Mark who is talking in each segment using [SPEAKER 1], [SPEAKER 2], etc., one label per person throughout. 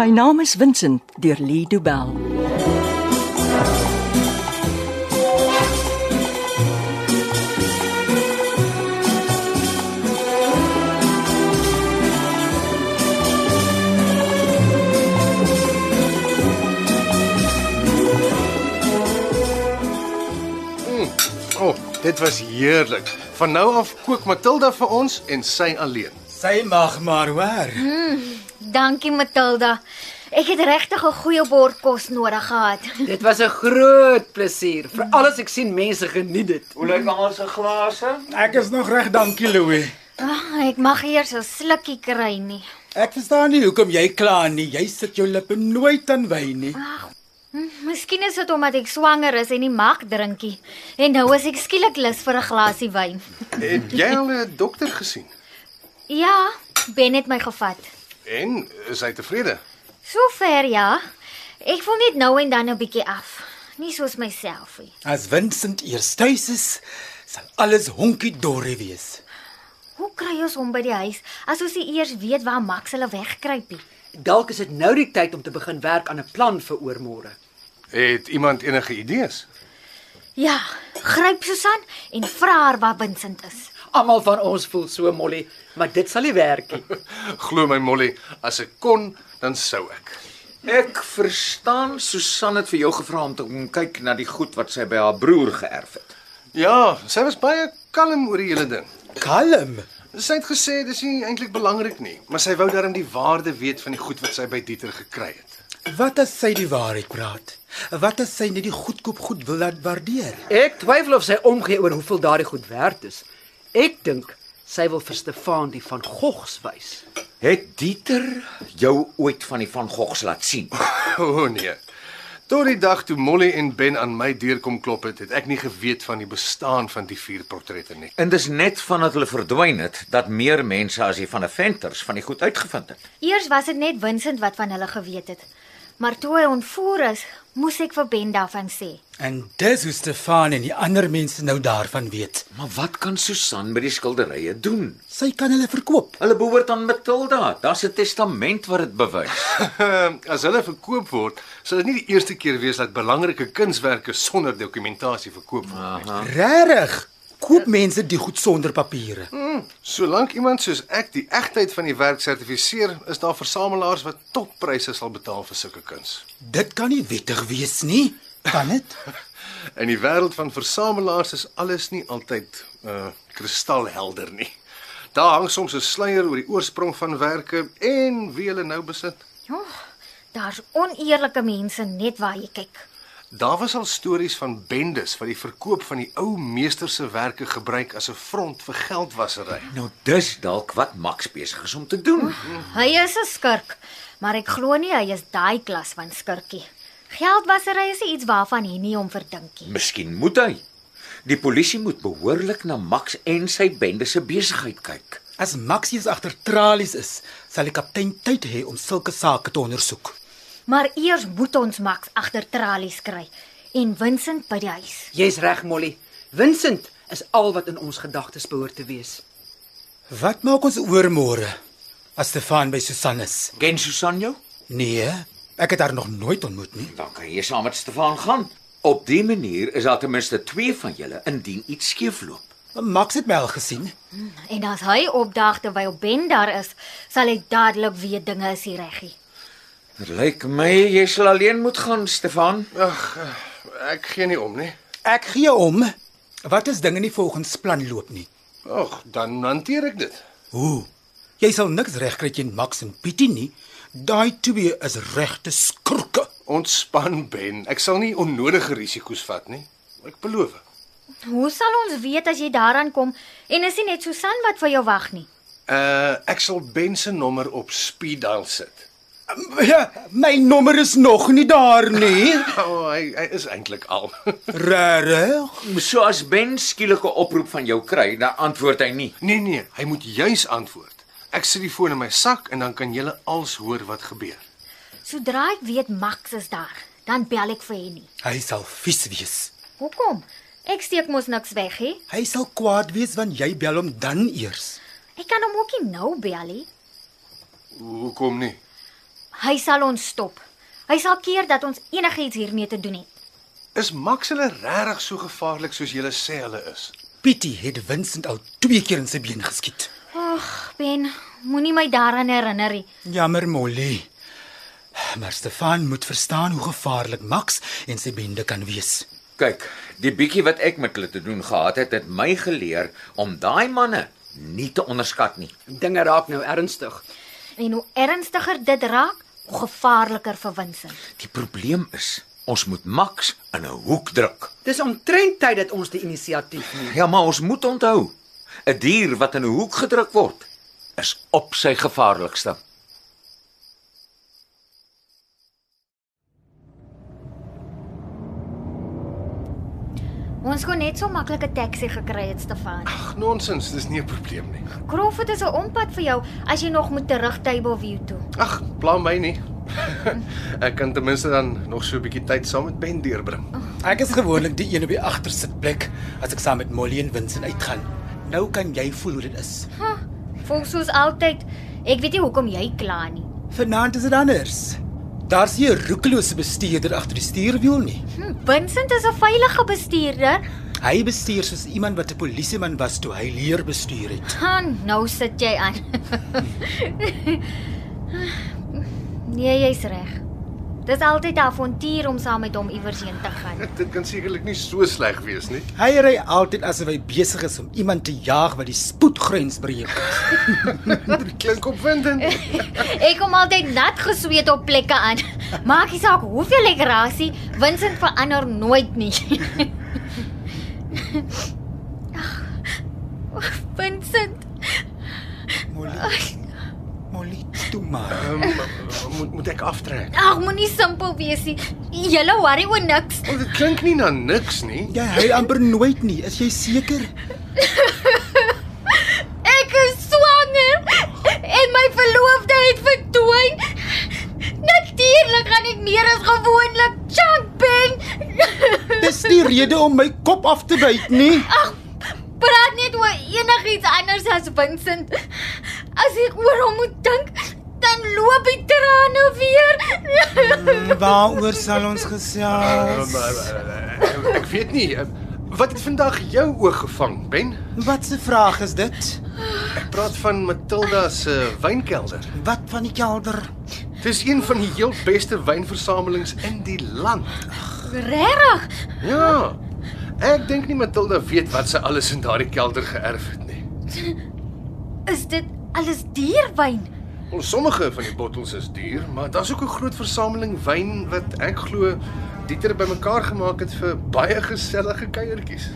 [SPEAKER 1] My naam is Vincent deur Lee Du Bell.
[SPEAKER 2] O, oh, dit was heerlik. Van nou af kook Matilda vir ons en sy alleen.
[SPEAKER 3] Sy mag maar hoor.
[SPEAKER 4] Dankie Matilda. Ek het regtig 'n goeie bord kos nodig gehad.
[SPEAKER 5] Dit was 'n groot plesier. Vir alles ek sien mense geniet dit.
[SPEAKER 6] Hoe lyk almal se glase?
[SPEAKER 3] Ek is nog reg, dankie Louis.
[SPEAKER 4] Ah, ek mag eers 'n slukkie kry nie.
[SPEAKER 3] Ek verstaan nie hoekom jy kla nie. Jy sit jou lippe nooit aan wyn nie.
[SPEAKER 4] Hm, Miskien is dit omdat ek swanger is en nie mag drinkie. En nou is ek skielik lus vir 'n glasie wyn.
[SPEAKER 2] Het jy al 'n dokter gesien?
[SPEAKER 4] Ja, Ben het my gevat.
[SPEAKER 2] En is hy tevrede?
[SPEAKER 4] Sover ja. Ek voel net nou en dan 'n bietjie af. Nie soos myself nie.
[SPEAKER 3] As Vincent eers tuis is, sal alles honkie dorre wees.
[SPEAKER 4] Hoe kry ons hom by die huis as ons nie eers weet waar Max hulle wegkruip nie?
[SPEAKER 5] Dalk is dit nou die tyd om te begin werk aan 'n plan vir oormôre.
[SPEAKER 2] Het iemand enige idees?
[SPEAKER 4] Ja, gryp Susan en vra haar waar Vincent is.
[SPEAKER 5] Almal van ons voel so molly, maar dit sal nie werk nie.
[SPEAKER 2] Glo my Molly, as ek kon, dan sou ek.
[SPEAKER 6] Ek verstaan Susan het vir jou gevra om te kom kyk na die goed wat sy by haar broer geërf het.
[SPEAKER 2] Ja, sy was baie kalm oor die hele ding.
[SPEAKER 3] Kalm.
[SPEAKER 2] Sy het gesê dis nie eintlik belangrik nie, maar sy wou darm die waarde weet van die goed wat sy by Dieter gekry het.
[SPEAKER 3] Wat as sy die waarheid praat? Wat as sy net die goedkoop goed wil laat waardeer?
[SPEAKER 5] Ek twyfel of sy omgee oor hoeveel daardie goed werd is. Ek dink sy wil vir Stefan die van Gogs wys.
[SPEAKER 6] Het Dieter jou ooit van die Van Goghs laat sien?
[SPEAKER 2] O oh, nee. Tot die dag toe Molly en Ben aan my deur kom klop het, het ek nie geweet van die bestaan van die vier portrette nie.
[SPEAKER 6] En dis net vandat hulle verdwyn het dat meer mense as die van die Venters van die goed uitgevind het.
[SPEAKER 4] Eers was dit net Vincent wat van hulle geweet het. Maar toe hy ontvoer is, moes ek vir Ben daarvan sê.
[SPEAKER 3] En dis hoe Stefan en die ander mense nou daarvan weet.
[SPEAKER 6] Maar wat kan Susan by die skilderye doen?
[SPEAKER 3] Sy kan hulle verkoop.
[SPEAKER 6] Hulle behoort aan Matilda. Daar's 'n testament wat dit bewys.
[SPEAKER 2] As hulle verkoop word, sal dit nie die eerste keer wees dat belangrike kunswerke sonder dokumentasie verkoop word nie.
[SPEAKER 3] Regtig? Koop mense die goed sonder papiere?
[SPEAKER 2] Solank iemand soos ek die egtheid van die werk sertifiseer, is daar versamelaars wat toppryse sal betaal vir sulke kuns.
[SPEAKER 3] Dit kan nie wettig wees nie. Kan dit?
[SPEAKER 2] In die wêreld van versamelaars is alles nie altyd uh kristalhelder nie. Daar hang soms 'n sluier oor die oorsprong van werke en wie hulle nou besit.
[SPEAKER 4] Ja, daar's oneerlike mense net waar jy kyk.
[SPEAKER 2] Daar was al stories van bendes wat die verkoop van die ou meesters se werke gebruik as 'n front vir geldwasery.
[SPEAKER 6] Nou dis dalk wat Max besig is om te doen.
[SPEAKER 4] Hy is 'n skurk, maar ek glo nie hy is daai klas van skurkie. Geldwasery is nie iets waarvan hy nie om verdink nie.
[SPEAKER 6] Miskien moet hy. Die polisie moet behoorlik na Max en sy bende se besigheid kyk.
[SPEAKER 3] As Maxius agter tralies is, sal die kaptein tyd hê om sulke sake te ondersoek.
[SPEAKER 4] Maar eers moet ons Max agter tralies kry en Vincent by die huis.
[SPEAKER 5] Jy's reg, Molly. Vincent is al wat in ons gedagtes behoort te wees.
[SPEAKER 3] Wat maak ons oormôre as Stefan by Susan is?
[SPEAKER 6] Ken Susan jou?
[SPEAKER 3] Nee, ek het haar nog nooit ontmoet nie.
[SPEAKER 6] Dan kan jy saam met Stefan gaan. Op die manier is daar ten minste 2 van julle indien iets skeefloop.
[SPEAKER 3] Max het my al gesien.
[SPEAKER 4] En as hy opdag terwyl Ben daar is, sal hy dadelik weet dinge is nie reggie.
[SPEAKER 6] Dit lyk my jy sal alleen moet gaan, Stefan.
[SPEAKER 2] Ag, eh, ek gee nie om nie.
[SPEAKER 3] Ek gee om. Wat as dinge nie volgens plan loop nie?
[SPEAKER 2] Ag, dan hanteer ek dit.
[SPEAKER 3] Hoe? Jy sal niks regkry teen Max en Pietie nie. Daai twee is regte skurke.
[SPEAKER 2] Ontspan Ben, ek sal nie onnodige risiko's vat nie. Ek beloof.
[SPEAKER 4] Hoe sal ons weet as jy daaraan kom en is nie net Susan wat vir jou wag nie?
[SPEAKER 2] Uh ek sal Ben se nommer op speed dial sit.
[SPEAKER 3] Ja, my nommer is nog nie daar nie.
[SPEAKER 2] O, oh, hy, hy is eintlik al.
[SPEAKER 3] Regtig?
[SPEAKER 6] So as Ben skielike oproep van jou kry, dan antwoord hy nie.
[SPEAKER 2] nee nee, hy moet juis antwoord. Ek sit die foon in my sak en dan kan julle als hoor wat gebeur.
[SPEAKER 4] Sodra ek weet Max is daar, dan bel ek vir hom nie.
[SPEAKER 3] Hy sal vies wees.
[SPEAKER 4] Hoekom? Ek steek mos niks weg hè.
[SPEAKER 3] Hy sal kwaad wees want jy bel hom dan eers.
[SPEAKER 4] Ek kan hom ook nie nou bel nie.
[SPEAKER 2] Hoekom nie?
[SPEAKER 4] Hy sal ons stop. Hy sal keer dat ons enigiets hiermee te doen het.
[SPEAKER 2] Is Max hulle regtig so gevaarlik soos julle sê hulle is?
[SPEAKER 3] Pietie het Vincent al twee keer in sy been geskiet.
[SPEAKER 4] Ag, Ben, moenie my daaraan herinner nie.
[SPEAKER 3] Jammer Molly. Maar Stefan moet verstaan hoe gevaarlik Max en sy bende kan wees.
[SPEAKER 6] Kyk, die bietjie wat ek met hulle te doen gehad het, het my geleer om daai manne nie te onderskat nie.
[SPEAKER 5] Dinge raak nou ernstig.
[SPEAKER 4] En hoe ernstiger dit raak, hoe gevaarliker vir Vincent.
[SPEAKER 6] Die probleem is, ons moet Max in 'n hoek druk.
[SPEAKER 5] Dis omtrent tyd dat ons die inisiatief neem.
[SPEAKER 6] Ja, maar ons moet onthou, 'n dier wat in 'n hoek gedruk word, is op sy gevaarlikste.
[SPEAKER 4] Ons kon net so maklik 'n taxi gekry het, Stefan.
[SPEAKER 2] Ag nonsens, dis nie 'n probleem nie.
[SPEAKER 4] Crawford is 'n ompad vir jou as jy nog moet terug Tableview toe.
[SPEAKER 2] Ag, pla my nie. ek kan ten minste dan nog so 'n bietjie tyd saam met Ben deurbring.
[SPEAKER 3] Ek is gewoonlik die een op die agtersitplek as ek saam met Molly en Vincent uitgaan. Nou kan jy voel hoe dit is.
[SPEAKER 4] Huh, voel soos altyd. Ek weet nie hoekom jy kla nie.
[SPEAKER 3] Vanaand is dit anders. Daar's nie 'n roekelose bestuurder agter die stuurwiel nie.
[SPEAKER 4] Hm, Vincent is 'n veilige bestuurder.
[SPEAKER 3] Hy bestuur soos iemand wat 'n polisieman was toe hy leer bestuur het.
[SPEAKER 4] Han, nou sit jy aan. nee, jy's reg. Dis altyd 'n avontuur om saam met hom iewers heen te gaan.
[SPEAKER 2] Dit kan sekerlik nie so sleg wees nie.
[SPEAKER 3] Hy ry altyd asof hy besig is om iemand te jaag wat die spoedgrens breek.
[SPEAKER 2] Dit klink opwindend.
[SPEAKER 4] Ek kom altyd nat gesweet op plekke aan. Maak nie saak hoeveel ek rasie, Vincent verander nooit nie. Ag, Vincent,
[SPEAKER 3] Molly. Molly, toe maar.
[SPEAKER 2] Ehm moet moet ek aftrek?
[SPEAKER 4] ag moenie simpel wees nie. Jy worry oor niks.
[SPEAKER 2] Want dit klink nie na niks nie.
[SPEAKER 3] Jy hy amper nooit nie, is jy seker?
[SPEAKER 4] Ek is swanger en my verloofde het verdwyn. Natuurlik gaan ek meer as gewoonlik chunk bang.
[SPEAKER 3] Dis nie rede om my kop af te byt nie.
[SPEAKER 4] Praat net oor enigiets anders as Vincent. As ek oor hom moet dink, dan loop die trane weer.
[SPEAKER 3] Waaroor sal ons
[SPEAKER 2] Ja,
[SPEAKER 3] gesels?
[SPEAKER 2] Ehm, Ek weet nie. ehm, Wat het vandag jou oog gevang, Ben?
[SPEAKER 3] Wat 'n vraag is dit?
[SPEAKER 2] Ek praat van Matilda se wynkelder.
[SPEAKER 3] Wat van die kelder?
[SPEAKER 2] Dis een van die heel beste wynversamelings in die land.
[SPEAKER 4] Regtig?
[SPEAKER 2] Ja. Ek dink nie Matilda weet wat sy alles in daardie kelder geërf het nie.
[SPEAKER 4] Is dit alles dierwyn?
[SPEAKER 2] Ons sommige van die bottels is duur, maar daar's ook 'n groot versameling wyn wat ek glo Dieter bymekaar gemaak het vir baie gesellige kuiertjies.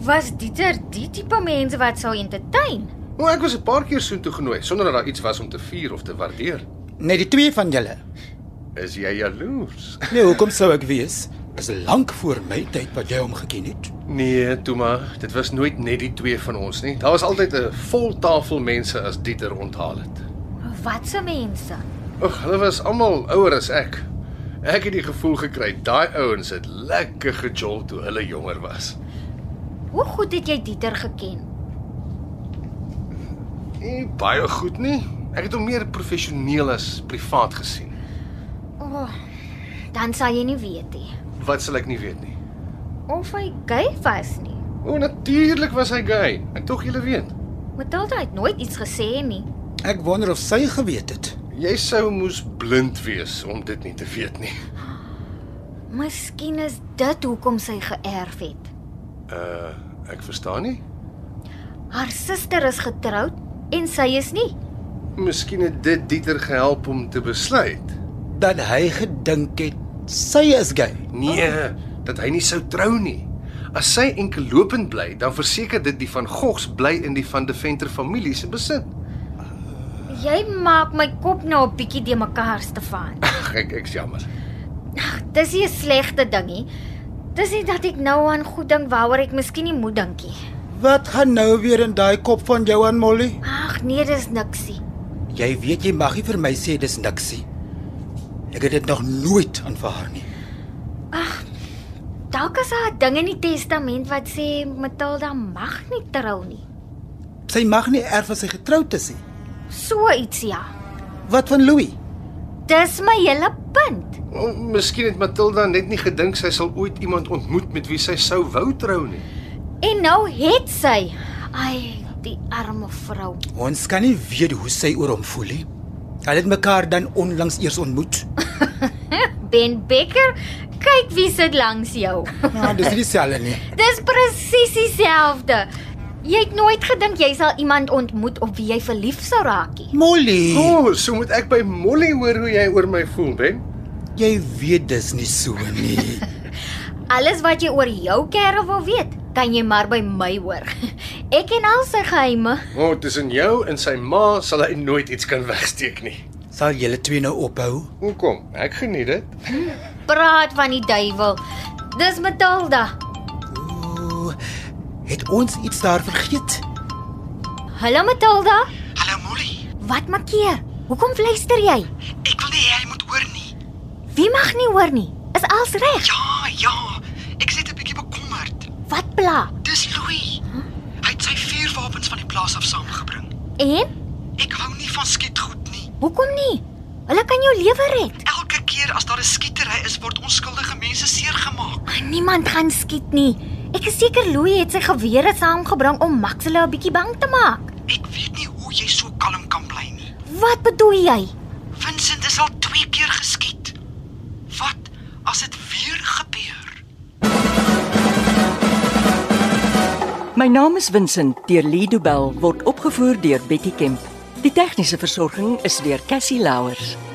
[SPEAKER 4] Was Dieter die tipe mense wat sou entertain?
[SPEAKER 2] Maar ek was 'n paar keer soontoe genooi sonder dat daar iets was om te vier of te waardeer.
[SPEAKER 3] Net die twee van julle.
[SPEAKER 2] Is jy jaloers?
[SPEAKER 3] Nee, hoekom sou ek wees? Dis lank voor my tyd wat jy hom geken het.
[SPEAKER 2] Nee, toe maar, dit was nooit net die twee van ons nie. Daar was altyd 'n vol tafel mense as Dieter onthaal het.
[SPEAKER 4] Wat se mense?
[SPEAKER 2] Ag, hulle was almal ouer as ek. Ek het die gevoel gekry daai ouens het lekker gejol toe hulle jonger was.
[SPEAKER 4] Hoe goed het jy Dieter geken?
[SPEAKER 2] Nie baie goed nie. Ek het hom meer professioneel as privaat gesien.
[SPEAKER 4] Oh, dan sal jy nie weet nie
[SPEAKER 2] Wat sal ek nie weet nie.
[SPEAKER 4] of hy gay was nie.
[SPEAKER 2] O, natuurlik was hy gay. En tog jy weet,
[SPEAKER 4] Matilda het nooit iets gesê nie.
[SPEAKER 3] Ek wonder of sy geweet het.
[SPEAKER 2] jy sou moes blind wees om dit nie te weet nie.
[SPEAKER 4] Miskien is dit hoekom sy geërf het.
[SPEAKER 2] Uh, ek verstaan nie.
[SPEAKER 4] Haar suster is getroud en sy is nie.
[SPEAKER 2] Miskien het dit Dieter gehelp om te besluit.
[SPEAKER 3] Dat hy gedink het sy is gay.
[SPEAKER 2] Nee, dat hy nie sou trou nie. As sy enkel lopend bly, dan verseker dit die van Gogs bly in die van De Venter familie se besit.
[SPEAKER 4] Jy maak my kop nou 'n bietjie de mekaar te van.
[SPEAKER 2] Ag, ek ek's jammer.
[SPEAKER 4] Dis nie 'n slegte ding nie. Dis nie dat ek nou aan goed dink waaroor ek miskien nie moet dink nie.
[SPEAKER 3] Wat gaan nou weer in daai kop van jou aan Molly?
[SPEAKER 4] Ag nee, dis niksie.
[SPEAKER 3] Jy weet jy mag nie vir my sê dis niksie. Ek het dit nog nooit aanvaar nie.
[SPEAKER 4] Dalk is daar 'n ding in die testament wat sê Matilda mag nie trou nie.
[SPEAKER 3] Sy mag nie erf as sy getroud is nie.
[SPEAKER 4] So iets ja.
[SPEAKER 3] Wat van Louis?
[SPEAKER 4] Dis my hele punt.
[SPEAKER 2] O, Miskien het Matilda net nie gedink sy sal ooit iemand ontmoet met wie sy sou wou trou nie.
[SPEAKER 4] En nou het sy. Ai, die arme vrou.
[SPEAKER 3] Ons kan nie weet hoe sy oor hom voel nie. Hulle het mekaar dan onlangs eers ontmoet.
[SPEAKER 4] Ben Becker, kyk wie sit langs jou.
[SPEAKER 3] Nou, dis nie dieselfde nie.
[SPEAKER 4] Dis presies dieselfde. Jy het nooit gedink jy sal iemand ontmoet op wie jy verlief sou raak nie.
[SPEAKER 2] O,
[SPEAKER 3] Molly, oh.
[SPEAKER 2] oh, so moet ek by Molly hoor hoe jy oor my voel, Ben.
[SPEAKER 3] jy weet dis nie so nie.
[SPEAKER 4] Alles wat jy oor jou kerel wil weet, kan jy maar by my hoor. Ek ken al sy geheime.
[SPEAKER 2] O, oh, tussen jou en sy ma sal hy nooit iets kan wegsteek nie.
[SPEAKER 3] Sal julle twee nou ophou?
[SPEAKER 2] Hoekom? Ek geniet dit.
[SPEAKER 4] Praat van die duiwel. Dis Matilda.
[SPEAKER 3] O, het ons iets daar vergeet?
[SPEAKER 4] Hallo Matilda.
[SPEAKER 7] Hallo Molly,
[SPEAKER 4] Wat maak keer? Hoekom fluister jy?
[SPEAKER 7] ek wil nie hê jy moet hoor nie.
[SPEAKER 4] Wie mag nie hoor nie. Is alles reg?
[SPEAKER 7] Ja, ja, ek sit 'n bietjie bekommerd.
[SPEAKER 4] Wat pla?
[SPEAKER 7] Dis Louis. Hy het sy vuurwapens van die plaas af saamgebring.
[SPEAKER 4] En
[SPEAKER 7] Ek hou nie van skietgoed nie.
[SPEAKER 4] hoekom nie? Hulle kan jou lewe red.
[SPEAKER 7] Elke keer as daar 'n skietery is, word onskuldige mense seergemaak.
[SPEAKER 4] Ah, Niemand gaan skiet nie. Ek is seker Louis het sy gewere saamgebring om Max hulle 'n bietjie bang te maak.
[SPEAKER 7] Ek weet nie hoe jy so kalm kan bly nie.
[SPEAKER 4] Wat bedoel jy?
[SPEAKER 7] Vincent is al 2 keer geskiet. Wat as dit weer gebeur?
[SPEAKER 1] My naam is Vincent deur Lido Bell word opgevoer deur Betty Kemp. Die tegniese versorging is deur Cassie Louers.